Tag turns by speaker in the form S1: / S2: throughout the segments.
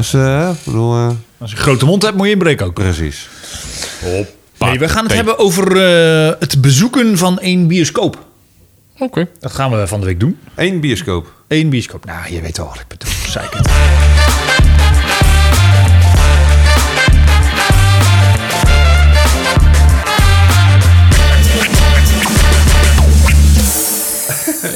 S1: Dus, eh, ik bedoel, eh,
S2: Als je een grote mond hebt, moet je inbreken ook.
S1: precies.
S2: Nee, we gaan het hebben over eh, het bezoeken van één bioscoop.
S3: Oké.
S2: Dat gaan we van de week doen.
S1: Eén bioscoop.
S2: Eén bioscoop. Nou, je weet al wat ik bedoel. Zeker.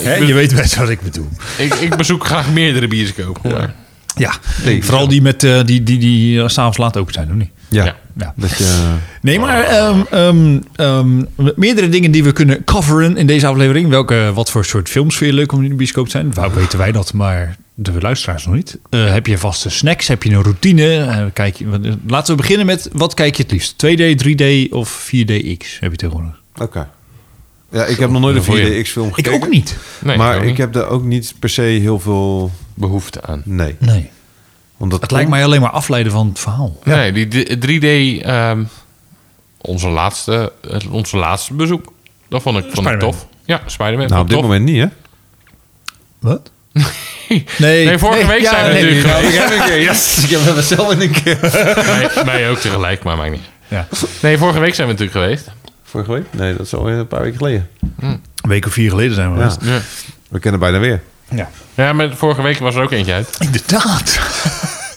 S2: Hè, je weet best wat ik bedoel.
S3: Ik, ik bezoek graag meerdere bioscopen. maar-
S2: Ja,
S1: Nee,
S2: vooral die, met, eh, die, die, die eh, s'avonds laat open zijn, of niet?
S1: Ja.
S3: Ja.
S2: Ja.
S1: Dat je, eh,
S2: Nee, maar ehm, ehm, ehm, meerdere dingen die we kunnen coveren in deze aflevering. Welke, wat voor soort films vind je leuk om in de bioscoop te zijn? Waar weten wij dat, maar de luisteraars nog niet. Eh, heb je vaste snacks? Heb je een routine? Eh, kijk, je- wat- laten we beginnen met wat kijk je het liefst? 2D, 3D of 4DX heb je tegenwoordig?
S1: Oké. Ja, ik heb nog nooit
S3: dan voel je-
S1: een 4DX-film
S2: Ik
S1: gekeken.
S2: ook niet.
S3: Nee,
S1: maar
S3: ook
S1: ik
S3: niet.
S1: heb daar ook niet per se heel veel...
S3: behoefte aan.
S1: Nee.
S2: Nee.
S1: Omdat
S2: Het lijkt mij alleen maar afleiden van het verhaal.
S3: Nee, die d- 3D, ehm, onze, laatste, het- onze laatste bezoek, dat vond ik, vond ik
S2: Spider-Man.
S3: tof. Ja, Spider-Man.
S1: Nou, op
S3: vond
S1: dit
S3: ik tof.
S1: moment niet, hè?
S2: Wat?
S3: Nee, vorige week zijn we natuurlijk geweest.
S1: heb een keer. Yes, ik heb het zelf in een keer.
S3: Mij, mij ook tegelijk, maar maakt niet.
S2: Ja.
S3: Nee, vorige week zijn we natuurlijk geweest.
S1: Vorige week? Nee, dat is alweer een paar weken geleden.
S2: Een week of vier geleden zijn we
S1: Ja.
S2: geweest.
S3: Ja.
S1: We kennen bijna weer.
S2: Ja.
S3: ja, maar vorige week was er ook eentje uit.
S2: Inderdaad.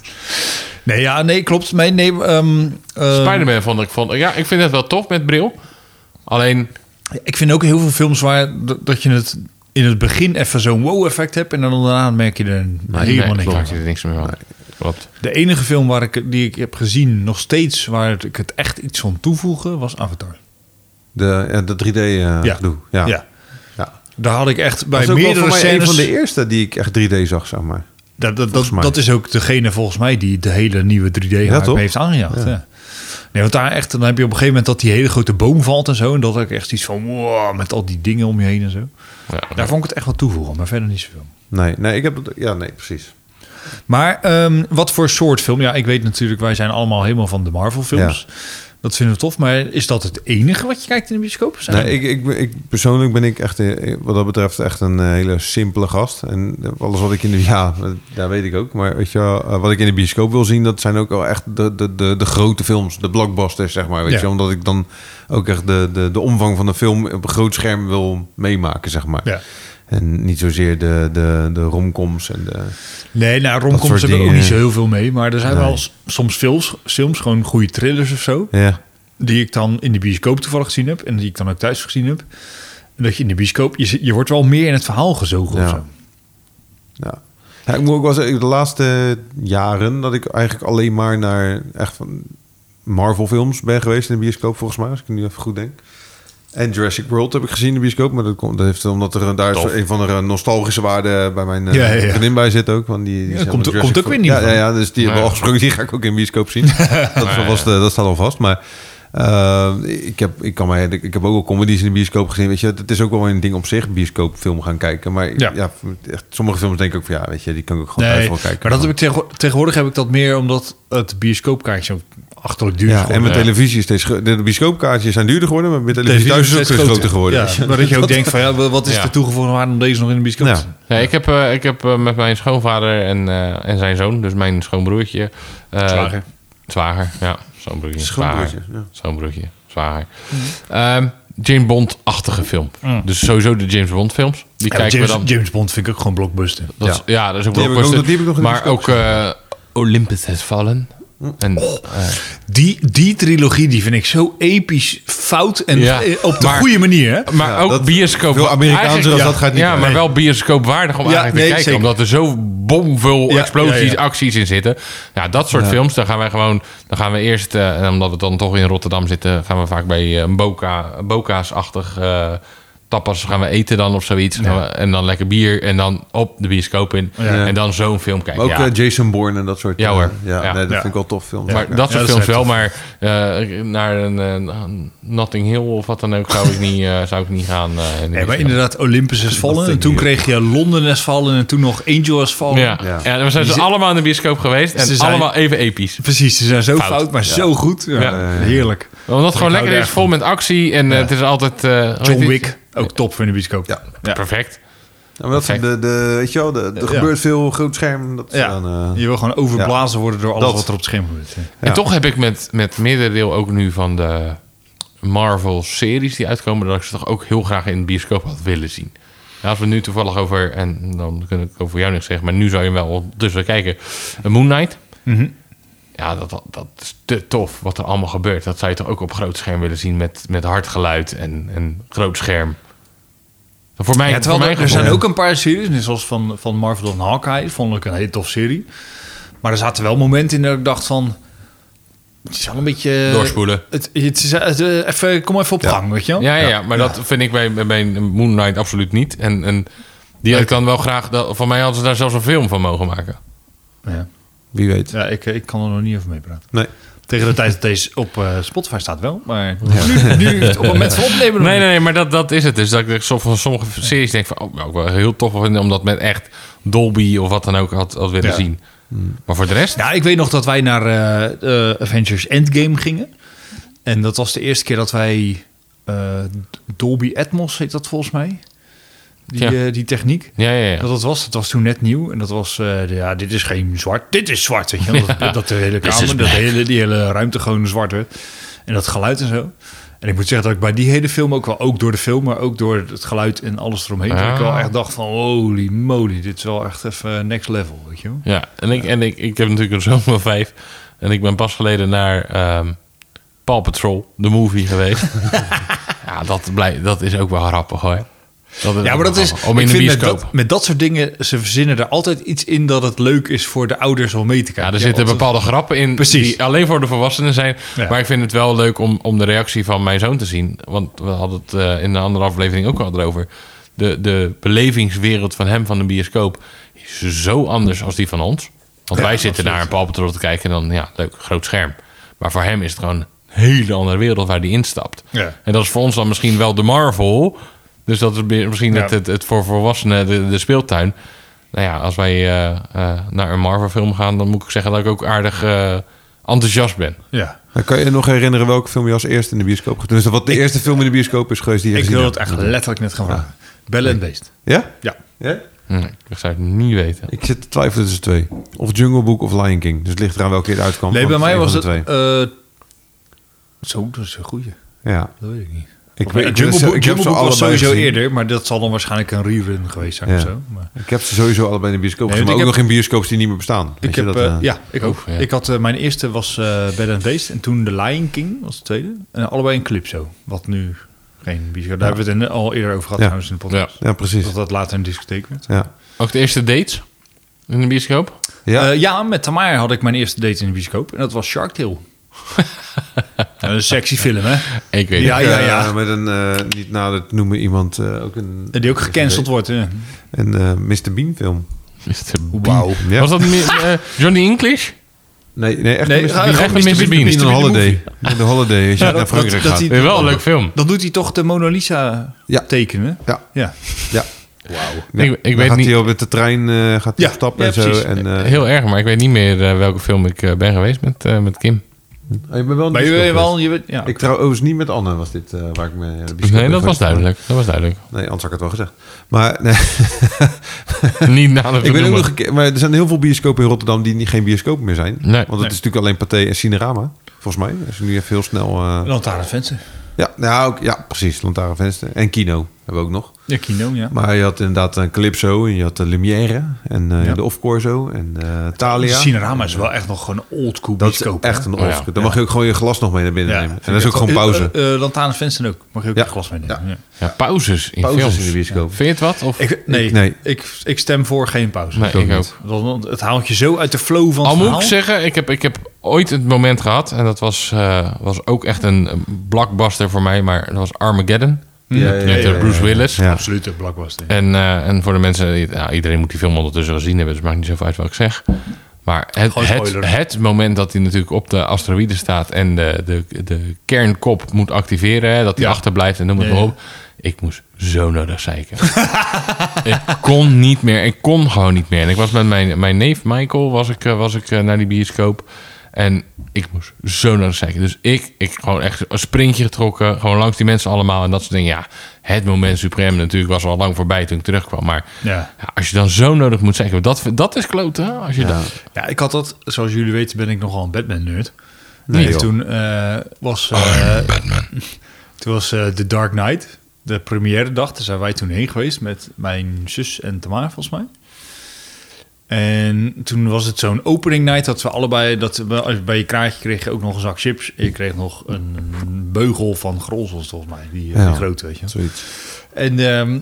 S2: nee, ja, nee, klopt. Nee, nee, ehm, ehm,
S3: Spider-Man vond ik, vond, ja, ik vind het wel tof met bril. Alleen,
S2: Ik vind ook heel veel films waar dat, dat je het in het begin even zo'n wow-effect hebt en dan daarna merk je er
S3: Ah,
S2: helemaal
S3: nee,
S2: niks
S3: maakt
S2: van.
S3: er niks meer van. Klopt.
S2: De enige film waar ik, die ik heb gezien nog steeds waar ik het echt iets van toevoegen was Avatar.
S1: De, eh, de 3D-gedoe. ja. ja.
S2: Daar had ik echt bij
S1: Dat is ook wel
S2: meerdere
S1: voor mij
S2: scènes.
S1: een van de eerste die ik echt 3D zag, zeg maar.
S2: dat, dat, dat,
S1: volgens mij.
S2: dat is ook degene volgens mij die de hele nieuwe 3D hype
S1: toch?
S2: heeft aangejaagd. ja. Nee, want daar echt, dan heb je op een gegeven moment dat die hele grote boom valt en zo. En dat ik echt iets van wow, met al die dingen om je heen en zo.
S3: Ja.
S2: Daar vond ik het echt wat toevoegen, maar verder niet zoveel.
S1: Nee, nee, ik heb het... Ja, nee, precies.
S2: Maar ehm, wat voor soort film? Ja, ik weet natuurlijk, wij zijn allemaal helemaal van de Marvel-films. Dat vinden we tof. Maar is dat het enige wat je kijkt in de bioscoop? Zijn
S1: Nee, ik, ik, ik, persoonlijk ben ik echt, eh, wat dat betreft, echt een eh, hele simpele gast. En eh, alles wat ik in de... Ja, eh, daar weet ik ook. Maar weet je wel, eh, wat ik in de bioscoop wil zien, dat zijn ook wel echt de, de, de, de grote films. De blockbusters, zeg maar. Weet
S2: Ja.
S1: je, omdat ik dan ook echt de, de, de omvang van de film op een groot scherm wil meemaken, zeg maar.
S2: Ja.
S1: En niet zozeer de, de, de romcoms en de...
S2: nee nou, romcoms
S1: Dat soort
S2: hebben we ook
S1: dingen.
S2: niet zo heel veel mee. Maar er zijn
S1: Nee.
S2: wel s- soms films, films, gewoon goede thrillers of zo.
S1: Ja,
S2: Die ik dan in de bioscoop toevallig gezien heb. En die ik dan ook thuis gezien heb. En dat je in de bioscoop, je, zit- je wordt wel meer in het verhaal gezogen
S1: Ja.
S2: of zo.
S1: Ja. Ja, ik moet ook wel zeggen, de laatste jaren dat ik eigenlijk alleen maar naar echt van Marvel films ben geweest in de bioscoop volgens mij, als ik nu even goed denk. En Jurassic World heb ik gezien in de bioscoop, maar dat komt dat heeft omdat er een- daar
S3: Tof.
S1: is een van de nostalgische waarden bij mijn eh,
S2: Ja, ja, ja.
S1: vriendin bij zit ook, want die, die
S2: Ja,
S1: zijn
S2: komt-
S1: met
S2: komt
S1: Jurassic
S2: ook weer nieuw
S1: Ja, ja,
S2: van.
S1: ja, dus die hebben we
S3: ja.
S1: afgesproken, die ga ik ook in de bioscoop zien. dat, was de, dat staat al vast, maar eh, ik, heb, ik, kan mij, ik heb ook wel comedies in de bioscoop gezien. Weet je, het is ook wel een ding op zich, bioscoopfilm gaan kijken. Maar
S2: Ja.
S1: ja. echt, sommige films denk ik ook van ja, weet je, die kan ik ook gewoon thuis
S2: Nee,
S1: wel kijken.
S2: maar dat heb ik tegen- tegenwoordig heb ik dat meer omdat het bioscoopkaartje zo achterlijk duur is.
S1: ja,
S2: geworden.
S1: en met
S3: Ja.
S1: televisie is steeds... ge- De bioscoopkaartjes zijn duurder geworden, maar met televisie, thuis is het ook groter geworden.
S2: Ja,
S1: weet je.
S2: maar dat je ook denkt van, ja, wat is
S3: Ja.
S2: de toegevoegde waarde om deze nog in de bioscoop
S1: Ja.
S2: te zien?
S3: Nee, ik heb, eh, ik heb eh, met mijn schoonvader en, eh, en zijn zoon, dus mijn schoonbroertje. eh,
S2: Zwager.
S3: Zwager, ja. Schoonbroertje.
S1: Schoonbroertje,
S3: zwager.
S1: ja.
S3: Schoonbroertje, zwager. Ehm, James Bond-achtige film. Dus sowieso de James Bond-films. Die
S2: Ja,
S3: kijken
S2: James,
S3: we dan.
S2: James Bond vind ik ook gewoon blockbuster.
S3: Dat is- ja. dat is ook
S1: Die
S3: wel
S1: heb ik ook nog- die heb ik nog Hm. in de
S3: Maar ook eh, Olympus Has Fallen. En,
S1: Oh.
S3: eh,
S2: Die, die trilogie die vind ik zo episch fout en
S3: Ja,
S2: eh, op de
S3: maar-
S2: goede manier. Hè?
S3: maar
S1: Ja,
S3: ook
S1: dat-
S3: bioscoop.
S1: veel Amerikaanse
S3: eigenlijk-
S1: als dat gaat niet
S3: Ja, maar
S1: mee.
S3: wel bioscoopwaardig om
S2: Ja,
S3: eigenlijk
S2: nee,
S3: te kijken.
S2: zeker.
S3: Omdat er zo bomvol
S2: Ja,
S3: explosies,
S2: ja, ja.
S3: acties in zitten. Ja, dat soort films, daar gaan wij gewoon... Dan gaan we eerst, eh, en omdat we dan toch in Rotterdam zitten... gaan we vaak bij eh, een boca, boca's-achtig... eh, Tapas gaan we eten dan of zoiets. Gaan we- En dan lekker bier. En dan op de bioscoop in. En dan zo'n film kijken.
S1: Maar ook
S3: ja.
S1: eh, Jason Bourne en dat soort...
S3: Ja,
S1: eh,
S3: hoor.
S1: Ja,
S3: Ja.
S1: nee, dat
S2: Ja.
S1: vind ik wel tof films.
S3: Maar
S1: Ja.
S3: dat soort
S2: dat
S3: films
S2: is
S3: wel, maar eh, naar een eh, Notting Hill of wat dan ook zou ik niet, eh, zou ik niet gaan. eh, in de
S2: Nee, maar
S3: bioscoop.
S2: inderdaad, Olympus is vallen. En
S1: vind ik
S2: toen
S1: niet.
S2: kreeg je Londen is vallen. En toen nog Angel is vallen.
S3: Ja.
S1: Ja.
S3: Ja. we zijn dus allemaal in de bioscoop geweest en
S2: Ze zijn-
S3: allemaal even episch.
S2: Precies, ze zijn zo fout, maar zo goed. Ja, eh,
S3: Ja.
S2: Heerlijk.
S3: Omdat het gewoon
S2: hou
S3: lekker
S2: er
S3: is,
S2: echt
S3: vol met actie en eh, het is altijd... eh, hoe heet
S2: John
S3: het?
S2: Wick, ook top voor in de bioscoop.
S1: Ja.
S3: Perfect.
S1: Nou, maar dat
S3: Gek.
S1: de, de, weet je wel, de, er
S2: Ja.
S1: gebeurt veel groot scherm. Dat is
S2: Ja,
S1: dan, eh,
S2: je wil gewoon overblazen worden door alles
S1: Dat.
S2: wat er op het scherm gebeurt.
S1: Ja.
S3: En toch heb ik met, met meerdere ook nu van de Marvel-series die uitkomen... dat ik ze toch ook heel graag in de bioscoop had willen zien. En als we nu toevallig over... en dan kan ik over jou niks zeggen... maar nu zou je hem wel ondertussen kijken. Eh, Moon Knight.
S2: Mhm.
S3: Ja, dat, dat- dat is te tof wat er allemaal gebeurt. Dat zou je toch ook op groot scherm willen zien... met, met hard geluid en, en groot scherm. Voor mij,
S2: Ja, terwijl
S3: voor
S2: er,
S3: mij
S2: er zijn ook een paar series, net zoals van, van Marvel en Hawkeye, vond ik een hele tof serie. Maar er zaten wel momenten in dat ik dacht van... Het is wel een beetje...
S3: Doorspoelen.
S2: Het, het is, het, eh, even, kom even op gang, weet je wel?
S3: Ja, ja, ja, maar dat vind ik bij, bij Moon Knight absoluut niet. En, en die had ik dan wel graag... dat- Van mij hadden ze daar zelfs een film van mogen maken.
S2: Ja.
S1: Wie weet.
S2: Ja, ik, eh, ik kan er nog niet over mee praten.
S1: Nee.
S2: Tegen de tijd dat deze op eh, Spotify staat wel, maar nu, nu op het moment van opnemen nog
S3: Nee,
S2: niet.
S3: nee, nee, maar dat, dat is het. Dus dat ik soms van sommige series denk van... Oh, nou, ik wel heel tof vinden om dat met echt Dolby of wat dan ook had, had willen
S2: Ja.
S3: zien. Maar voor de rest...
S2: Nou, ik weet nog dat wij naar eh, eh, Avengers Endgame gingen. En dat was de eerste keer dat wij eh, Dolby Atmos heet dat volgens mij. Die,
S3: Ja.
S2: eh, die techniek.
S3: Ja, ja, ja.
S2: Dat, dat was, dat was toen net nieuw. En dat was, eh, de- ja, dit is geen zwart, dit is zwart. Weet je? wel. Dat, dat de hele kamer, dat de hele, die hele ruimte gewoon zwart werd. En dat geluid en zo. En ik moet zeggen dat ik bij die hele film ook wel, ook door de film, maar ook door het geluid en alles eromheen, dat ik wel
S3: Ah.
S2: echt dacht van, holy moly, dit is wel echt even next level, weet je wel.
S3: Ja, en ik, en ik, ik heb natuurlijk een zoon van vijf. En ik ben pas geleden naar ehm Paw Patrol, de movie, geweest. ja, dat, blij, dat is ook wel grappig hoor. Dat
S2: Ja,
S3: ook
S2: maar
S3: wel
S2: dat is.
S3: grappig. Eh, Om in
S2: ik
S3: de
S2: vind met
S3: bioscoop.
S2: dat, met dat soort dingen, ze verzinnen er altijd iets in dat het leuk is voor de ouders om mee te kijken.
S3: Ja, er zitten
S2: want-
S3: bepaalde grappen in
S2: Precies.
S3: die alleen voor de volwassenen zijn.
S2: Ja.
S3: Maar ik vind het wel leuk om, om de reactie van mijn zoon te zien. Want we hadden het eh, in een andere aflevering ook al erover. De, de belevingswereld van hem van de bioscoop is zo anders als die van ons. Want wij zitten naar een Paw Patrol te kijken en dan, ja, leuk, groot scherm. Maar voor hem is het gewoon een hele andere wereld waar hij instapt.
S2: Ja.
S3: En dat is voor ons dan misschien wel de Marvel. Dus dat is meer- misschien
S2: Ja.
S3: het, het, het voor volwassenen, de, de speeltuin. Nou ja, als wij eh, eh, naar een Marvel-film gaan, dan moet ik zeggen dat ik ook aardig eh, enthousiast ben.
S2: Ja.
S1: Nou, kan je je nog herinneren welke film je als eerste in de bioscoop gezien Dus wat de eerste film in de bioscoop is geweest die je
S2: Ik
S1: gezien
S2: wil het
S1: hebt?
S2: echt letterlijk net gaan vragen. Bellen en Beest.
S1: Ja?
S2: Ja.
S1: ja?
S3: Hm, ik zou het niet weten.
S1: Ik zit te twijfelen tussen twee. Of Jungle Book of Lion King. Dus het ligt eraan welke keer het uitkwam.
S2: Nee, bij
S1: want
S2: mij
S1: is
S2: was
S1: één
S2: het.
S1: van de
S2: eh, zo, dat is een goeie.
S1: twee. Ja.
S2: Dat weet ik niet.
S1: Ik,
S2: Of,
S1: weet-
S2: eh,
S1: ik-
S2: Jungle
S1: ik-
S2: Book,
S1: ik heb
S2: Jungle
S1: ze
S2: Book was
S1: allebei
S2: sowieso
S1: gezien.
S2: eerder, maar dat zal dan waarschijnlijk een rerun geweest zijn of
S1: Ja.
S2: zo. Maar.
S1: Ik heb ze sowieso allebei in de bioscoop
S2: Nee,
S1: gezien. Maar
S2: want
S1: ook
S2: ik
S1: nog in bioscoops die niet meer bestaan. Weet
S2: Ik
S1: je
S2: heb,
S1: dat,
S2: eh,
S1: eh,
S2: ja, ik ook.
S3: ook, Oh, ja.
S2: Ik had, eh, mijn eerste was eh Bed and Beast en toen The Lion King was de tweede. En allebei een Calypso, wat nu geen bioscoop. Daar hebben we het in- eh, al eerder over gehad
S1: Ja.
S2: trouwens in de podcast.
S1: Ja, precies.
S2: Dat dat later een discotheek werd.
S1: Ja.
S3: Ook de eerste dates in de bioscoop?
S1: Ja?
S2: Ja, Eh, ja met Tamar had ik mijn eerste date in de bioscoop en dat was Shark Tale. een sexy film, hè?
S3: Ik weet
S2: Ja,
S3: het.
S2: ja, ja.
S1: Eh, met een, eh, niet nader te noemen, iemand eh, ook een...
S2: Die ook gecanceld wordt. hè.
S1: Een eh, Mr. Bean film.
S3: Mr. Bean.
S2: Wauw.
S1: Ja.
S3: Was dat meer, eh, Johnny English?
S1: Nee, nee echt
S2: Nee, eh,
S1: een Mr.
S2: ga-
S1: Bean.
S3: ga- Mr. Bean.
S1: In
S2: Mr.
S1: een
S2: Bean
S1: holiday. In de holiday, als je naar
S2: dat-
S1: Frankrijk
S2: dat- dat
S1: gaat.
S2: die-
S3: Vind je wel een leuk film.
S2: Dan doet hij toch de Mona Lisa
S1: Ja.
S2: tekenen?
S1: Ja,
S2: Ja.
S1: ja.
S3: Ik- ik
S1: Dan
S3: weet
S1: gaat
S3: niet-
S1: hij op met de trein eh gaat hij
S2: Ja,
S1: op stap
S2: ja,
S1: en zo.
S2: precies.
S1: En, eh,
S3: Heel erg, maar ik weet niet meer eh, welke film ik eh, ben geweest met, eh, met Kim.
S1: oh, je bent wel in de
S2: Maar je,
S1: bioscoop
S2: weet wel,
S1: geweest.
S2: je, weet- ja.
S1: Ik trouw overigens niet met Anne was dit eh, waar ik me... de bioscoop ben
S3: Nee, dat was
S1: geweest.
S3: duidelijk. Dat was duidelijk.
S1: Nee, anders had ik het wel gezegd. Maar, nee,
S3: niet na de
S1: ik ben ook nog een keer- maar er zijn heel veel bioscopen in Rotterdam die niet, geen bioscoop meer zijn.
S3: Nee.
S1: Want het
S2: Nee.
S1: is natuurlijk alleen Pathé en Cinerama, volgens mij. Als ik nu even heel snel... eh,
S2: Lantaarnvenster.
S1: ja, nou, ook, ja, precies. Lantaarnvenster. En Kino hebben we ook nog.
S2: Ja, Kino, ja.
S1: Maar je had inderdaad een Calypso en je had de Lumière en eh,
S2: Ja.
S1: de Off-Corso en eh Thalia.
S2: Cinerama is wel echt nog gewoon een old cool
S1: Dat is
S2: bioscoop, hè?
S1: echt een
S3: Oh, ja.
S1: off. Dan mag je ook gewoon je glas nog mee naar binnen nemen. En dat is ook gewoon pauze.
S2: Uh, Lantaarnvenster ook. Mag je ook
S1: Ja.
S2: een glas meenemen.
S1: Ja.
S2: Ja.
S3: Ja, pauzes in
S1: Pauzes
S3: films.
S1: in de bioscoop.
S3: Vind je het wat? Of...
S2: Ik, nee,
S1: Nee.
S2: Ik, ik stem voor geen pauze.
S3: Nee, ik ook.
S2: Want het haalt je zo uit de flow van
S3: Al
S2: het
S3: moet
S2: verhaal.
S3: ik zeggen, ik heb, ik heb ooit het moment gehad... en dat was, eh, was ook echt een een blockbuster voor mij... maar dat was Armageddon
S1: Ja, ja,
S3: met eh,
S1: ja, ja,
S3: Bruce Willis.
S1: Ja.
S2: Absoluut een blockbuster.
S3: En, eh, en voor de mensen... die- nou, iedereen moet die film ondertussen gezien hebben... dus het maakt niet zoveel uit wat ik zeg. Maar het,
S2: Gewoon
S3: het,
S2: spoiler.
S3: het moment dat hij natuurlijk op de asteroïde staat... en de, de, de kernkop moet activeren... hè, dat hij
S2: Ja.
S3: achterblijft en noem het
S2: Ja,
S3: maar
S2: ja.
S3: op... Ik moest zo nodig zeiken. ik kon niet meer. Ik kon gewoon niet meer. En ik was met mijn, mijn neef Michael was ik, eh, was ik eh, naar die bioscoop. En ik moest zo naar de zijkant. Dus ik, ik gewoon echt een sprintje getrokken. Gewoon langs die mensen allemaal. En dat soort dingen. Ja, het moment suprem natuurlijk was al lang voorbij toen ik terugkwam. Maar
S2: Ja.
S3: ja, als je dan zo nodig moet zeggen. Dat, dat is kloten. hè? Als je dan,
S2: Ja, ik had dat, zoals jullie weten, ben ik nogal een Batman-nerd.
S1: Nee,
S2: en
S1: joh. Oh,
S2: toen eh, was, eh, toen was eh, The Dark Knight, de première dag. Daar zijn wij toen heen geweest met mijn zus en Tamara, volgens mij. En toen was het zo'n opening night dat we allebei, dat we, als je bij je kraantje kreeg je ook nog een zak chips. Ik kreeg nog een beugel van Grolsels, volgens mij. Die, eh,
S1: Ja.
S2: die grote, weet je.
S1: Zoiets.
S2: En ehm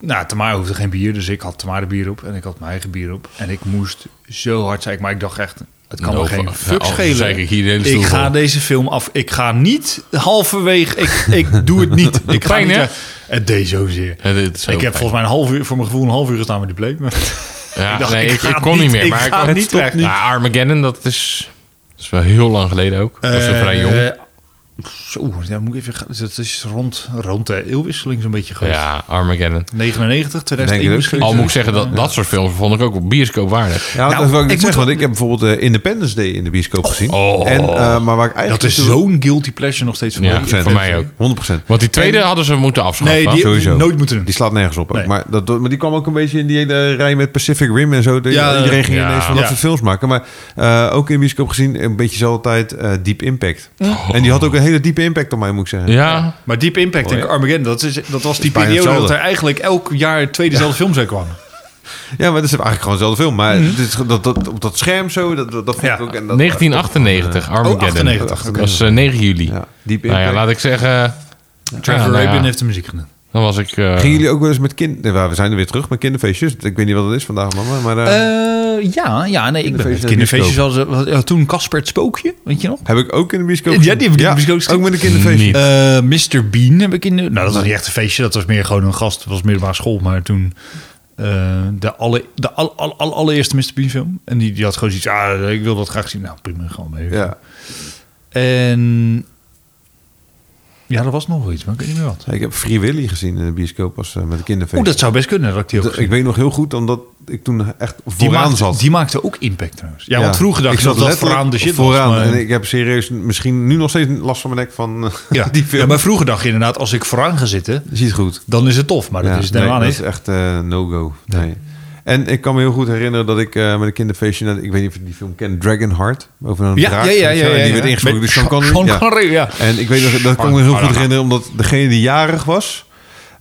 S2: nou, Tamara hoefde geen bier, dus ik had Tamara bier op en ik had mijn eigen bier op. En ik moest zo hard zijn, maar ik dacht echt, het kan
S3: Nou,
S2: me geen
S3: van-
S2: fuck
S3: nou,
S2: schelen.
S3: zeg ik hier de hele stoel
S2: ik ga
S3: vol.
S2: deze film af. Ik ga niet halverwege. Ik, ik doe het niet. Ik ga
S3: Pijn,
S2: niet,
S3: hè?
S2: eh, Het deed zozeer.
S3: het is zo
S2: ik heb
S3: fijn.
S2: volgens mij een half uur, voor mijn gevoel een half uur gestaan met die bleek. Maar
S3: Ja,
S2: ik dacht,
S3: nee,
S2: ik
S3: ik,
S2: ga
S3: ik kon
S2: niet,
S3: niet meer.
S2: ik
S3: maar ik
S2: ga
S3: kon-
S2: niet,
S3: Het stopt
S2: echt
S3: niet. Nou, Armageddon, dat is, dat is wel heel lang geleden ook. Dat was
S2: Eh,
S3: wel vrij jong.
S2: Zo, daar moet ik even. gaan- Dat is rond, rond de eeuwwisseling zo'n beetje geweest.
S3: Ja, Armageddon.
S2: 99,
S1: Denk
S2: 2001
S1: ik
S2: misschien.
S1: ook.
S3: Al moet ik zeggen, dat, dat soort films vond ik ook op bioscoop waardig.
S1: Ja,
S2: Nou,
S1: dat wil ik niet
S2: ik moet
S1: zeggen,
S2: wel-
S1: want ik heb bijvoorbeeld eh, Independence Day in de bioscoop gezien.
S3: Oh.
S1: En, eh, maar waar ik
S2: Dat
S1: eigenlijk
S2: is zo'n guilty pleasure nog steeds voor
S3: Ja,
S2: mij.
S3: voor mij ook.
S1: 100%.
S3: Want die tweede hadden ze moeten afschaffen.
S2: Nee, die-
S1: Sowieso.
S2: Nooit moeten doen.
S1: Die slaat nergens op. ook.
S2: Nee.
S1: Maar, dat, maar die kwam ook een beetje in die hele rij met Pacific Rim en zo. De-
S2: Ja,
S1: iedereen ging
S3: ja.
S1: ineens van dat
S2: Ja.
S1: soort films maken. Maar eh, ook in de bioscoop gezien, een beetje zo altijd eh, Deep Impact. En die had ook een hele diepe impact op mij, moet ik zeggen.
S3: Ja,
S2: Maar Deep Impact en Armageddon, dat, is, dat was die
S1: Bijna
S2: periode dat
S1: hetzelfde.
S2: er eigenlijk elk jaar twee dezelfde films uit kwamen. Oh,
S1: Ja, maar dat is eigenlijk gewoon dezelfde film. Maar dit is dat, dat, op dat scherm zo, dat, dat, dat vond
S2: Ja.
S1: ik ook... En dat,
S3: 1998,
S2: Oh,
S3: Armageddon.
S2: 98.
S3: Dat was eh, 9 juli.
S1: Ja, Deep
S3: Nou
S1: Impact.
S3: ja, laat ik zeggen...
S2: Trevor
S3: ja, nou ja,
S2: Rabin heeft de muziek gedaan.
S3: Dan was ik... eh,
S1: Gingen jullie ook wel eens met kinderen... We zijn er weer terug met kinderfeestjes. Ik weet niet wat dat is vandaag, mama. Maar eh,
S2: ja, ja, nee, ik
S1: Kinderfeestjes
S2: ben met
S1: en
S2: kinderfeestjes. Was, was- ja, toen Casper het Spookje, weet je nog?
S1: heb ik ook in de bioscoop
S2: Ja, die heb ik in de
S1: gezien.
S2: bioscoop gezien.
S1: ook met een kinderfeestje.
S3: Niet.
S2: Eh Mr. Bean heb ik in de... Nou, dat was niet echt een feestje. Dat was meer gewoon een gast. Dat was middelbare school. Maar toen eh, de, alle, de al, al, al- allereerste Mr. Bean film. En die, die had gewoon zoiets... Ah, ik wil dat graag zien. Nou, prima. Gewoon mee.
S1: Eh, Ja.
S2: En... Ja, er was nog wel iets, maar ik weet niet meer wat.
S1: Ik heb Free Willy gezien in de bioscoop als, eh, met een kinderfeestje.
S2: Oeh, dat zou best kunnen dat ik die ook
S1: Dat-
S2: gezien
S1: ik weet nog heel goed, omdat ik toen echt
S2: Die
S1: vooraan
S2: maakte,
S1: zat.
S2: die maakte ook impact trouwens. Ja, want
S1: Ja.
S2: vroeger dacht ik, dat dat
S1: letterlijk
S2: vooraan de shit
S1: vooraan.
S2: was. Maar,
S1: En ik heb serieus misschien nu nog steeds last van mijn nek van eh,
S2: ja.
S1: die film.
S2: ja, maar vroeger dacht je inderdaad, als ik vooraan ga zitten,
S1: Ziet goed.
S2: dan is het tof. Maar dat
S1: Ja,
S2: is het
S1: nee,
S2: helemaal
S1: dat
S2: niet.
S1: is echt eh, no-go. Nee. En ik kan me heel goed herinneren dat ik eh, met een kinderfeestje... naar- ik weet niet of je die film kent, Dragonheart. Over een draak. weet je wel, en die werd ingesproken door Sean Connery. Ja.
S2: ja.
S1: En ik weet nog, dat kan ik me heel goed herinneren, omdat degene die jarig was,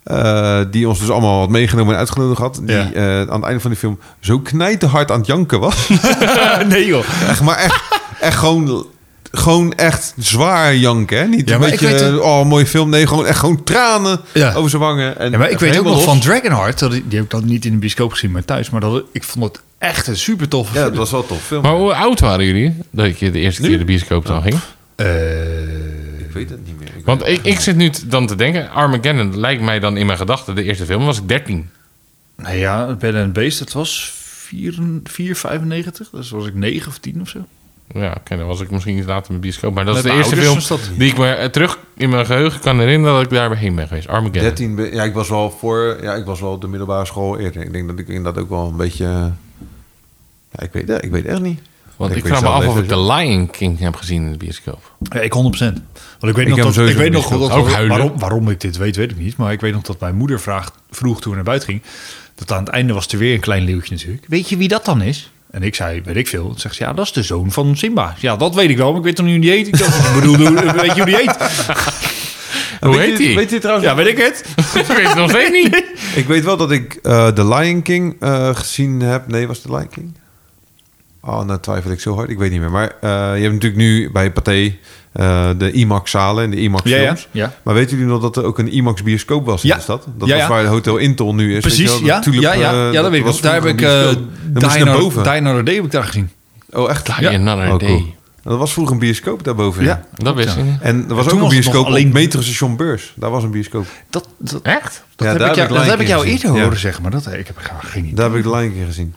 S1: eh, die ons dus allemaal had meegenomen en uitgenodigd had, die
S2: Ja.
S1: eh, aan het einde van die film zo knijterhard aan het janken was.
S2: nee joh.
S1: echt, maar echt, echt gewoon, gewoon echt zwaar janken. Hè? Niet
S2: Ja,
S1: een
S2: maar ik
S1: beetje,
S2: weet het-
S1: oh, mooie film. Nee, gewoon echt gewoon tranen
S2: Ja.
S1: over zijn wangen. En
S2: Ja, maar ik
S1: echt
S2: weet ook
S1: helemaal
S2: nog
S1: los.
S2: van Dragonheart, dat, die heb ik dan niet in de bioscoop gezien, maar thuis. Maar dat, ik vond het echt een super toffe
S1: Ja,
S2: film.
S1: dat was wel tof film.
S3: Maar hoe oud waren jullie dat je de eerste keer de bioscoop
S2: Oh.
S3: dan ging?
S2: Eh,
S1: Ik weet het niet meer. Ik
S3: Want
S1: weet-
S3: ik, ik zit nu t- dan te denken, Armageddon lijkt mij dan in mijn gedachten de eerste film, was ik 13.
S2: nou ja, Ben and Beast, dat was 4 4,95. Dus was ik 9 of 10 of zo.
S3: Ja, oké, dan was ik misschien iets later in de bioscoop. Maar dat
S2: Met
S3: is de
S2: mijn
S3: eerste film
S2: ouders was dat-
S3: die ik me eh, terug in mijn geheugen kan herinneren dat ik daar heen ben geweest. Armageddon.
S1: 13, ben- ja, ik was wel voor, ja, ik was wel op de middelbare school eerder. Ik denk dat ik inderdaad ook wel een beetje, ja, ik weet, ik weet echt niet.
S3: Want ik
S1: weet
S3: vraag me
S1: zelf
S3: af of
S1: even
S3: ik The Lion King heb gezien in de bioscoop.
S2: Ja, ik 100%. Want ik
S1: heb
S2: weet
S1: hem
S2: nog dat,
S1: sowieso
S2: ik weet
S1: niet
S2: nog
S1: gespeeld.
S2: dat
S3: Ook huilen.
S2: waarom, waarom ik dit weet, weet ik niet. Maar ik weet nog dat mijn moeder vraagt, vroeg toen we naar buiten ging. Dat aan het einde was er weer een klein leeuwtje natuurlijk. Weet je wie dat dan is? En ik zei, weet ik veel. Toen zegt ze, ja, dat is de zoon van Simba. Ja, dat weet ik wel, maar ik weet toch niet hoe die heet. Ik dacht, ik bedoel, hoe- weet je hoe die heet?
S3: Hoe heet die?
S1: Weet je trouwens?
S2: Ja, weet ik het.
S3: Ik weet het nog steeds niet.
S1: Ik weet wel dat ik eh The Lion King eh, gezien heb. Nee, was The Lion King? Oh, nou twijfel ik zo hard. Ik weet niet meer. Maar eh, je hebt natuurlijk nu bij Pathé eh, de IMAX-zalen en de
S2: Ja, ja.
S1: IMAX-films.
S2: ja.
S1: Maar weten jullie nog dat er ook een IMAX-bioscoop was
S2: Ja.
S1: in de stad? Dat
S2: Ja,
S1: was
S2: ja.
S1: waar Hotel Intel nu is. weet je
S2: Precies,
S1: wel, dat
S2: ja.
S1: Tulip,
S2: ja, ja,
S1: eh,
S2: ja, dat weet ik
S1: was
S2: nog. Daar heb ik
S1: vroeger een
S2: eh
S1: bioscoop. Dan moest je naar boven.
S2: Diner Day heb ik daar gezien.
S1: Oh, echt?
S3: Die Another
S1: Oh, cool.
S3: Day.
S1: Dat was vroeger een bioscoop daarboven.
S2: Ja.
S3: Dat wist ik niet.
S1: En er was
S2: toen
S1: ook een
S2: was het
S1: bioscoop
S2: nog alleen-
S1: op metrostation Beurs. Daar was een bioscoop.
S2: Dat, dat,
S3: Echt?
S1: Ja,
S2: dat
S1: daar
S2: heb ik
S1: heb ik
S2: jou, dat
S1: Lion
S2: heb ik
S1: King
S2: jou
S1: gezien.
S2: eerder
S1: Ja.
S2: horen zeggen, maar dat, ik heb geen idee.
S1: Daar heb ik de Lion King gezien.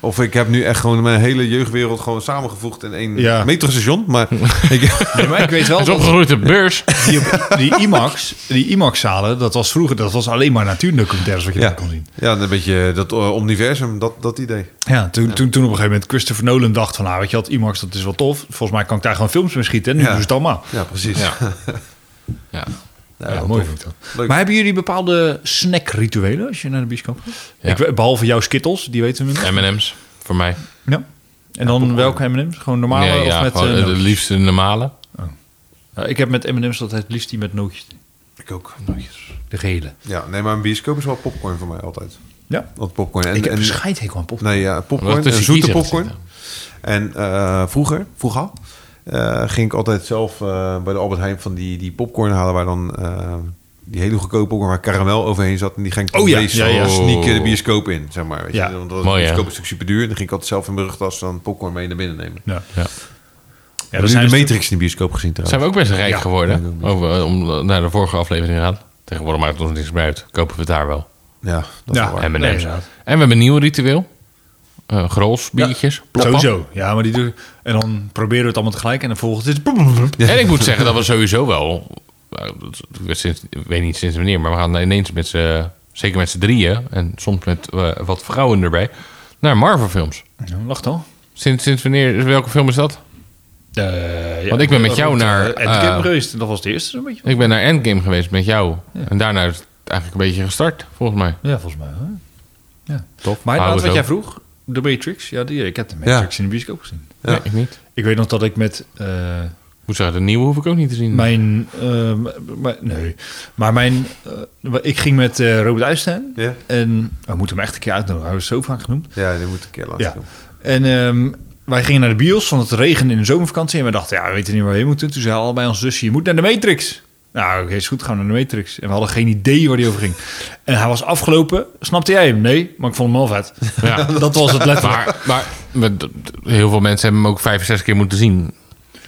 S1: Of ik heb nu echt gewoon mijn hele jeugdwereld gewoon samengevoegd in één
S2: Ja.
S1: metrostation. Maar ik,
S2: Nee, maar ik weet wel
S3: Hij is
S2: dat
S3: opgegroeid op de beurs.
S2: die, die IMAX, die IMAX-zalen, dat was vroeger, dat was alleen maar natuurdocumentaires wat je
S1: ja,
S2: daar kon zien.
S1: ja, een beetje dat eh, omniversum, dat, dat idee.
S2: Ja, toen, Toen, toen op een gegeven moment Christopher Nolan dacht van... nou, weet je wat, IMAX, dat is wel tof. Volgens mij kan ik daar gewoon films mee schieten. En nu
S1: Ja.
S2: doen ze het allemaal.
S1: Ja, precies. Nou,
S3: Ja. Ja.
S2: Ja, mooi vind ik dat.
S1: Leuk.
S2: Maar hebben jullie bepaalde snackrituelen als je naar de bioscoop gaat?
S3: Ja.
S2: Ik, weet- behalve jouw Skittles, die weten we minder.
S3: M&M's, voor mij.
S2: Ja. En dan welke M&M's? Gewoon normale
S3: Nee,
S2: of
S3: ja,
S2: met...
S3: gewoon,
S2: eh,
S3: eh, de
S2: nootjes?
S3: liefste normale.
S2: Ja, ik heb met M&M's altijd het liefst die met nootjes.
S1: Ik ook.
S2: De gele.
S1: Ja, nee, maar een bioscoop is wel popcorn voor mij altijd.
S2: Ja.
S1: Want popcorn en,
S2: ik heb dus
S1: en
S2: een scheidhekel aan pop.
S1: nee, ja, popcorn,
S3: Omdat
S1: en
S3: tussen
S1: zoete
S3: kiezen
S1: popcorn. En
S3: zitten.
S1: eh, vroeger, vroeger eh, ging ik altijd zelf eh, bij de Albert Heijn van die, die popcorn halen waar dan eh, die hele goedkope popcorn waar karamel overheen zat. En die ging ik dan
S2: Oh ja,
S1: ineens
S2: ja, ja.
S1: zo sneaken de bioscoop in, zeg maar. Weet
S2: Ja.
S1: je? Want dat was
S3: Mooi,
S1: de
S3: hè?
S1: bioscoop een stuk super duur. En dan ging ik altijd zelf in mijn rugtas dan popcorn mee naar binnen nemen.
S2: Ja.
S3: Ja.
S2: Ja,
S1: Hebben
S2: dat
S1: jullie
S2: zijn
S1: de
S2: dus-
S1: Matrix in de bioscoop gezien
S3: Zijn
S1: trouwens?
S3: we ook best rijk
S2: Ja.
S3: geworden? Over, eh, om eh, naar de vorige aflevering te gaan. Tegenwoordig maakt het ons niks meer uit. Kopen we het daar wel.
S1: Ja, dat is
S2: Ja.
S1: wel waar.
S2: En-
S3: M&M's.
S2: Nee,
S3: en
S2: inderdaad.
S3: we hebben een nieuw ritueel. Eh grols, biertjes. plop, plop.
S2: Sowieso. Ja, maar die doe En dan proberen we het allemaal tegelijk. En dan volgens is het...
S3: En ik moet zeggen dat we sowieso wel... eh, dat- Ik weet sinds- ik weet niet sinds wanneer, maar we gaan ineens met z'n... Zeker met z'n drieën. En soms met eh, wat vrouwen erbij. Naar Marvel films.
S2: Ja, Lacht al.
S3: Sinds, sinds wanneer? Welke film is dat?
S2: Eh,
S3: Want ik ben met jou naar,
S2: Het uh,
S3: eh,
S2: geweest. Dat was de eerste een beetje.
S3: Ik ben naar Endgame geweest met jou. En daarna is het eigenlijk een beetje gestart, volgens mij.
S2: Ja, volgens mij. Hè? Ja.
S3: Tof.
S2: Maar
S3: Houden
S2: inderdaad,
S3: we
S2: wat jij
S3: zo.
S2: vroeg, de Matrix. Ja, die, ik heb de Matrix in de bioscoop gezien.
S1: Ja.
S3: Nee, ik niet.
S2: Ik weet nog dat ik met eh,
S3: Ik Moet zeggen, de nieuwe hoef ik ook niet te zien.
S2: mijn, eh, m- m- nee, maar mijn, eh, ik ging met eh, Robert Uijsteen
S1: Ja.
S2: en we moeten hem echt een keer uitnodigen. Hij is zo vaak genoemd.
S1: Ja, die moet ik een keer laten
S2: Ja.
S1: doen.
S2: En ehm, wij gingen naar de bios, want het regende in de zomervakantie. En we dachten, ja, we weten niet waar we heen moeten. Toen zei allebei ons zusje, je moet naar de Matrix. Nou, oké, is goed, gaan we naar de Matrix. En we hadden geen idee waar die over ging. En hij was afgelopen. Snapte jij hem? Nee, maar ik vond hem wel vet.
S3: Ja.
S2: dat was het letterlijk.
S3: Maar, maar we- d- d- heel veel mensen hebben hem ook vijf, zes keer moeten zien.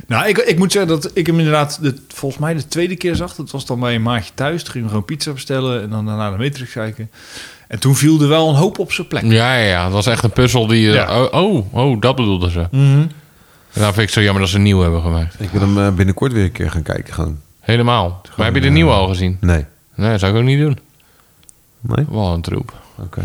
S2: Nou, ik, ik moet zeggen dat ik hem inderdaad de, volgens mij de tweede keer zag. Dat was dan bij een maatje thuis. Toen gingen we gewoon pizza bestellen en dan daarna de Matrix kijken. En toen viel er wel een hoop op zijn plek.
S3: Ja, ja, ja. Het was echt een puzzel die... je-
S2: Ja. Mhm.
S3: Oh, oh, oh, dat bedoelden ze. En dat vind ik zo jammer dat ze een nieuw hebben gemaakt.
S1: Ik wil hem eh, binnenkort weer een keer gaan kijken. Gewoon.
S3: Helemaal. Maar heb je de nieuwe al gezien?
S1: Nee.
S3: Nee, dat zou ik ook niet doen.
S1: Nee?
S3: Wel een troep.
S1: Oké.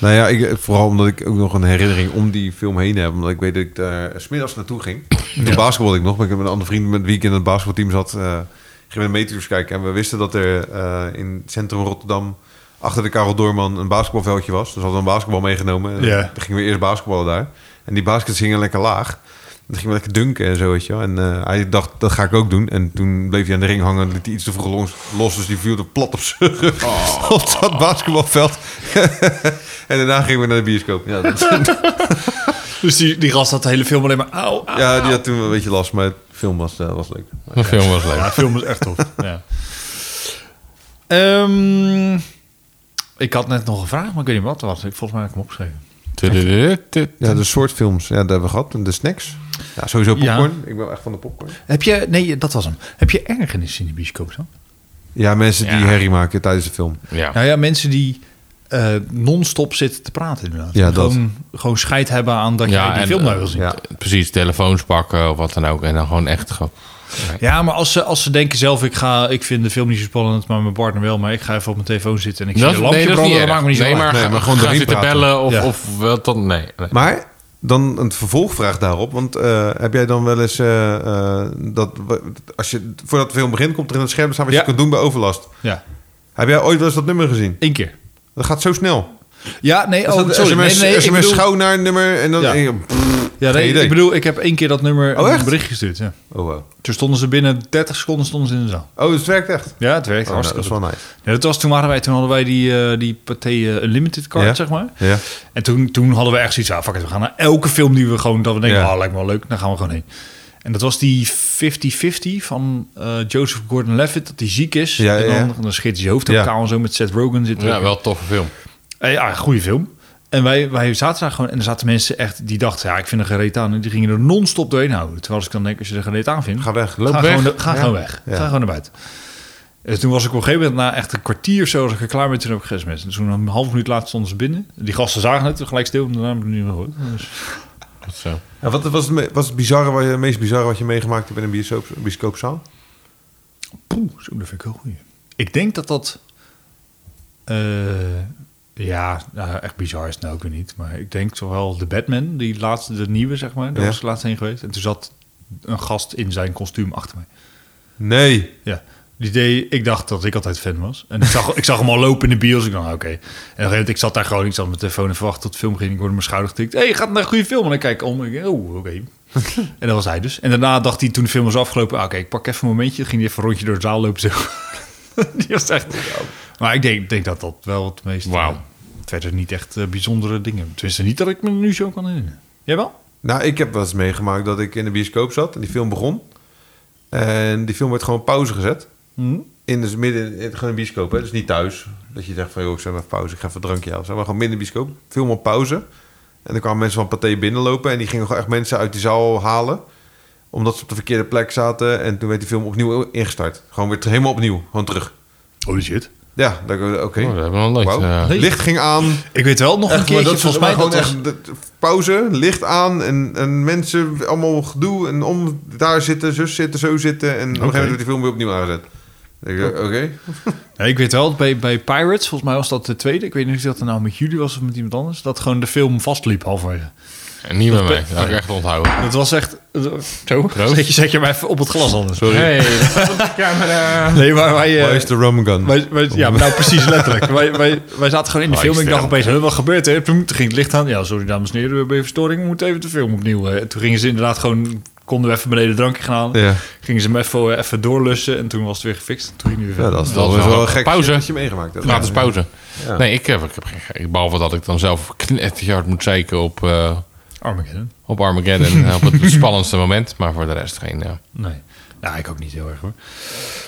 S1: Nou ja, ik, vooral omdat ik ook nog een herinnering om die film heen heb. Omdat ik weet dat ik daar smiddags naartoe ging. Toen basketbalde ik nog. Maar ik heb met een andere vriend met wie ik in het basketbalteam zat... eh gingen we de Meteors kijken. En we wisten dat er eh, in het centrum Rotterdam... achter de Karel Doorman een basketbalveldje was. Dus hadden we een basketbal meegenomen. En
S2: Ja.
S1: Toen gingen we eerst basketballen daar. En die baskets hingen lekker laag. En toen gingen we lekker dunken en zo, weet je wel. En eh, hij dacht, dat ga ik ook doen. En toen bleef hij aan de ring hangen en liet hij iets te vroeg los. los dus die viel er plat op zijn rug op dat basketbalveld. en daarna gingen we naar de bioscoop. Ja, dat-
S2: Dus die, die gast had de hele film alleen maar... Au, au.
S1: ja die had toen wel een beetje last, maar de film was, eh, was leuk.
S3: De film was leuk.
S2: Ja, de film is echt tof. ja. Ehm, ik had net nog een vraag, maar ik weet niet wat het was. Ik- Volgens mij heb ik hem opgeschreven.
S3: Tudududu.
S1: Ja, de soort films, ja, dat hebben we gehad. En de snacks. Ja, sowieso popcorn. Ik ben echt van de popcorn.
S2: Heb je... Nee, dat was hem. Heb je ergernis in de bioscoop dan?
S1: Ja, mensen die
S3: Ja.
S1: herrie maken tijdens de film.
S3: Ja.
S2: Nou ja, mensen die eh, non-stop zitten te praten inderdaad.
S1: Ja, dat.
S2: gewoon, gewoon scheid hebben aan dat
S3: Ja,
S2: jij die
S3: en,
S2: film nou
S3: eh,
S2: wil zien.
S1: ja.
S2: Ja,
S3: Precies, telefoons pakken of wat dan ook. En dan gewoon echt... ge-
S2: maar als ze, als ze denken zelf, ik, ga, ik vind de film niet zo spannend, maar mijn partner wel. Maar ik ga even op mijn telefoon zitten en ik zie
S3: Dat,
S2: een lampje
S3: nee, dat is niet
S2: branden, dat maakt
S3: erg.
S2: me niet zo
S3: nee,
S2: uit.
S3: maar,
S1: Nee,
S3: ga-
S1: maar gewoon
S3: ga
S1: erin
S3: zitten
S1: praten.
S3: bellen of,
S2: Ja.
S3: of wel dan... Nee. nee.
S1: Maar dan een vervolgvraag daarop. Want eh, heb jij dan wel eens eh, eh, dat we- als je voordat de film begint, komt er in het scherm staan wat
S2: Ja.
S1: je kunt doen bij overlast.
S2: Ja,
S1: Heb jij ooit wel eens dat nummer gezien?
S2: één keer.
S1: Dat gaat zo snel.
S2: Ja, nee,
S1: Als
S2: oh,
S1: dat
S2: sorry.
S1: SMS,
S2: nee, nee, ik
S1: SMS
S2: bedoel,
S1: schouw naar een nummer en dan.
S2: Ja.
S1: en je-
S2: ja,
S1: Geen
S2: nee,
S1: idee.
S2: ik bedoel, ik heb één keer dat nummer
S1: Oh, echt?
S2: een bericht gestuurd. Ja.
S1: Oh, wow.
S2: Toen stonden ze binnen 30 seconden stonden ze in de zaal.
S1: oh, dus het werkt echt.
S2: Ja, het werkt
S1: Oh, nou, dat
S2: hartstikke
S1: is
S2: goed.
S1: wel nice.
S2: Ja, dat was, toen, waren wij, toen hadden wij die, eh, die Pathé eh, Unlimited card,
S1: Ja.
S2: zeg maar.
S1: Ja.
S2: En toen, toen hadden we echt zoiets van, fuck it, we gaan naar elke film die we gewoon, dat we denken,
S1: Ja.
S2: oh, lijkt me wel leuk, dan gaan we gewoon heen. En dat was die 50-50 van eh, Joseph Gordon-Levitt, dat hij ziek is.
S1: Ja, ja,
S2: En
S1: ja.
S2: dan, dan scheert hij zijn hoofd op
S1: Ja.
S2: elkaar en zo met Seth Rogen zitten.
S3: Ja, wel een toffe film.
S2: Eh, ja, goede film. En wij, wij zaten daar gewoon en er zaten mensen echt die dachten, ja, ik vind er gereed aan. En die gingen er non-stop doorheen houden. Terwijl als ik dan denk, als je er gereed aan vindt,
S1: Ga weg.
S2: ga,
S1: Loop
S2: Gewoon,
S1: weg.
S2: de- ga
S1: Ja.
S2: gewoon weg.
S1: Ja.
S2: Ga gewoon naar buiten. En toen was ik op een gegeven moment na echt een kwartier zo was ik er klaar mee. Toen heb ik gesmet. En toen een half minuut later stonden ze binnen. Die gasten zagen het gelijk stil. En daarna heb ik het niet meer gehoord. Dus-
S3: Zo.
S1: Ja, wat was het, me- was het, bizarre, wat je, het meest bizarre wat je meegemaakt hebt in een bioscoop, bioscoopzaal?
S2: Poeh, zo, dat vind ik heel goed. Ik denk dat dat... eh, ja, nou, echt bizar is het nou ook weer niet. Maar ik denk toch wel de Batman, die laatste, de nieuwe zeg maar. Daar
S1: Ja.
S2: was ik laatst heen geweest. En toen zat een gast in zijn kostuum achter mij.
S1: Nee.
S2: Ja. Die deed, ik dacht dat ik altijd fan was. En ik zag, ik zag hem al lopen in de bios. Ik dacht, nou, oké. En op een gegeven moment, ik zat daar gewoon, ik zat met mijn telefoon en verwacht tot de film ging. Ik hoorde mijn schouder getikt. Hé, hey, gaat naar een goede film? En dan kijk ik om. en ik, oh, oké. en dat was hij dus. En daarna dacht hij, toen de film was afgelopen, ah, oké, ik pak even een momentje. Ging hij even een rondje door de zaal lopen. Zo. Die was echt... Maar ik denk, denk dat dat wel het meest... eh,
S3: Wauw.
S2: Verder niet echt eh, bijzondere dingen. Tenminste, niet dat ik me er nu zo kan herinneren. Jij wel?
S1: Nou, ik heb wel eens meegemaakt dat ik in de bioscoop zat en die film begon. En die film werd gewoon op pauze gezet.
S2: Mhm.
S1: In dus midden, in, gewoon in de bioscoop, hè? dus niet thuis. Dat je zegt van, joh, ik zet even pauze, ik ga even een drankje halen. Zeg maar gewoon midden in de bioscoop, film op pauze. En dan kwamen mensen van Pathé binnenlopen en die gingen gewoon echt mensen uit die zaal halen. Omdat ze op de verkeerde plek zaten en toen werd die film opnieuw ingestart. Gewoon weer helemaal opnieuw, gewoon terug.
S2: Holy shit.
S1: Ja, dan- oké.
S3: Oh, dat hebben we nog nooit.
S1: Wauw.
S3: eh,
S2: Nee.
S1: Licht ging aan,
S2: Ik weet wel nog een
S1: Echt, maar
S2: keertje,
S1: dat
S2: volgens mij,
S1: gewoon
S2: dat was-
S1: echt dat- pauze, licht aan en, en mensen allemaal gedoe en om daar zitten, zus zitten, zo zitten en op een gegeven moment wordt die film weer opnieuw aangezet. Dan denk ik, Oké.
S2: Ja, ik weet wel, bij, bij Pirates, volgens mij was dat de tweede. Ik weet niet of dat er nou met jullie was of met iemand anders. Dat gewoon de film vastliep halverwege.
S3: en niet bij
S2: Dat
S3: mij.
S2: be-
S3: Dat had ik echt onthouden.
S2: Dat was echt... eh, Zo?
S3: Proost.
S2: Zet je, zet je maar even op het glas anders.
S3: Hey, de camera.
S2: Nee, maar wij... eh,
S1: Waar is de rum gun?
S2: wij, wij- ja, maar nou precies letterlijk. wij, wij, wij zaten gewoon in de
S3: Waar
S2: film.
S3: is
S2: Ik
S3: de
S2: dacht
S3: ramp?
S2: opeens, "Huh, wat gebeurt er? Toen ging het licht aan. Ja, sorry dames en heren, we hebben even verstoring. We moeten even de film opnieuw. eh. toen gingen ze inderdaad gewoon... Konden we even beneden een drankje gaan halen.
S1: Ja.
S2: Gingen ze hem even, eh, even doorlussen. En toen was het weer gefixt. Toen ging hij weer
S1: ja,
S2: verder.
S1: dat is
S3: Dat
S1: toch
S3: is
S1: wel,
S3: wel
S1: een gek
S3: pauze.
S1: shit dat je meegemaakt hebt.
S3: Gratis pauze.
S1: Ja.
S3: Nee, ik heb, ik heb geen ge- Behalve dat ik dan zelf knetterhard moet zeiken op, eh,
S2: Armageddon.
S3: op Armageddon. eh, op het spannendste moment. Maar voor de rest geen... ja.
S2: Nee. Nou, ik ook niet heel erg hoor.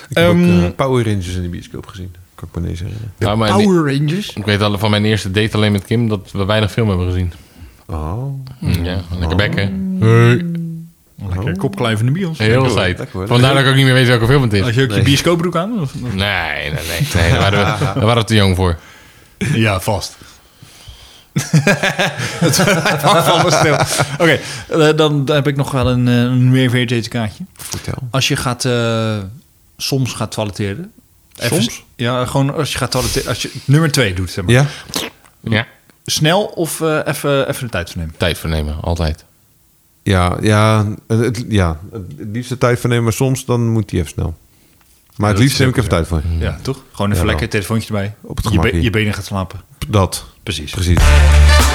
S1: Ik heb ook,
S2: Ehm,
S1: eh, Power Rangers in de bioscoop gezien. Kan ik me niet herinneren.
S3: Nou, maar die-
S2: Power Rangers.
S3: ik weet al van mijn eerste date alleen met Kim dat we weinig film hebben gezien.
S1: Oh.
S3: Ja, lekker bekken.
S2: Lekker kop klein van de bios.
S3: Heel tijd.
S1: lekker Oh. hoor.
S3: Vandaar dat ik ook niet meer weet welke film het
S2: Had
S3: is.
S2: je ook je bioscoopbroek aan? Of?
S3: Nee, nee, nee. nee daar, waren we, daar waren we te jong voor.
S2: Ja, vast. Het hangt van me stil. Oké, eh, dan, dan heb ik nog wel een, eh, een meer VTT-kaartje.
S1: Vertel.
S2: Als je gaat, eh, soms gaat toileteren. Even-
S1: Soms?
S2: Ja, gewoon als je gaat toileteren. Als je nummer twee doet, zeg maar.
S1: Ja?
S3: Ja.
S2: Snel of eh, even, even de tijd voor nemen.
S3: Tijd voor nemen, altijd.
S1: Ja, ja, het, het- ja. Het liefste tijd voor nemen, maar soms dan moet die even snel. Maar het
S2: dat
S1: liefst
S2: is
S1: neem ik even tijd voor.
S2: Ja, toch? Gewoon even
S1: Ja,
S2: lekker telefoontje erbij.
S1: Op het
S2: je,
S1: gemakkie.
S2: je benen gaat slapen.
S1: Dat.
S2: Precies.
S1: Precies.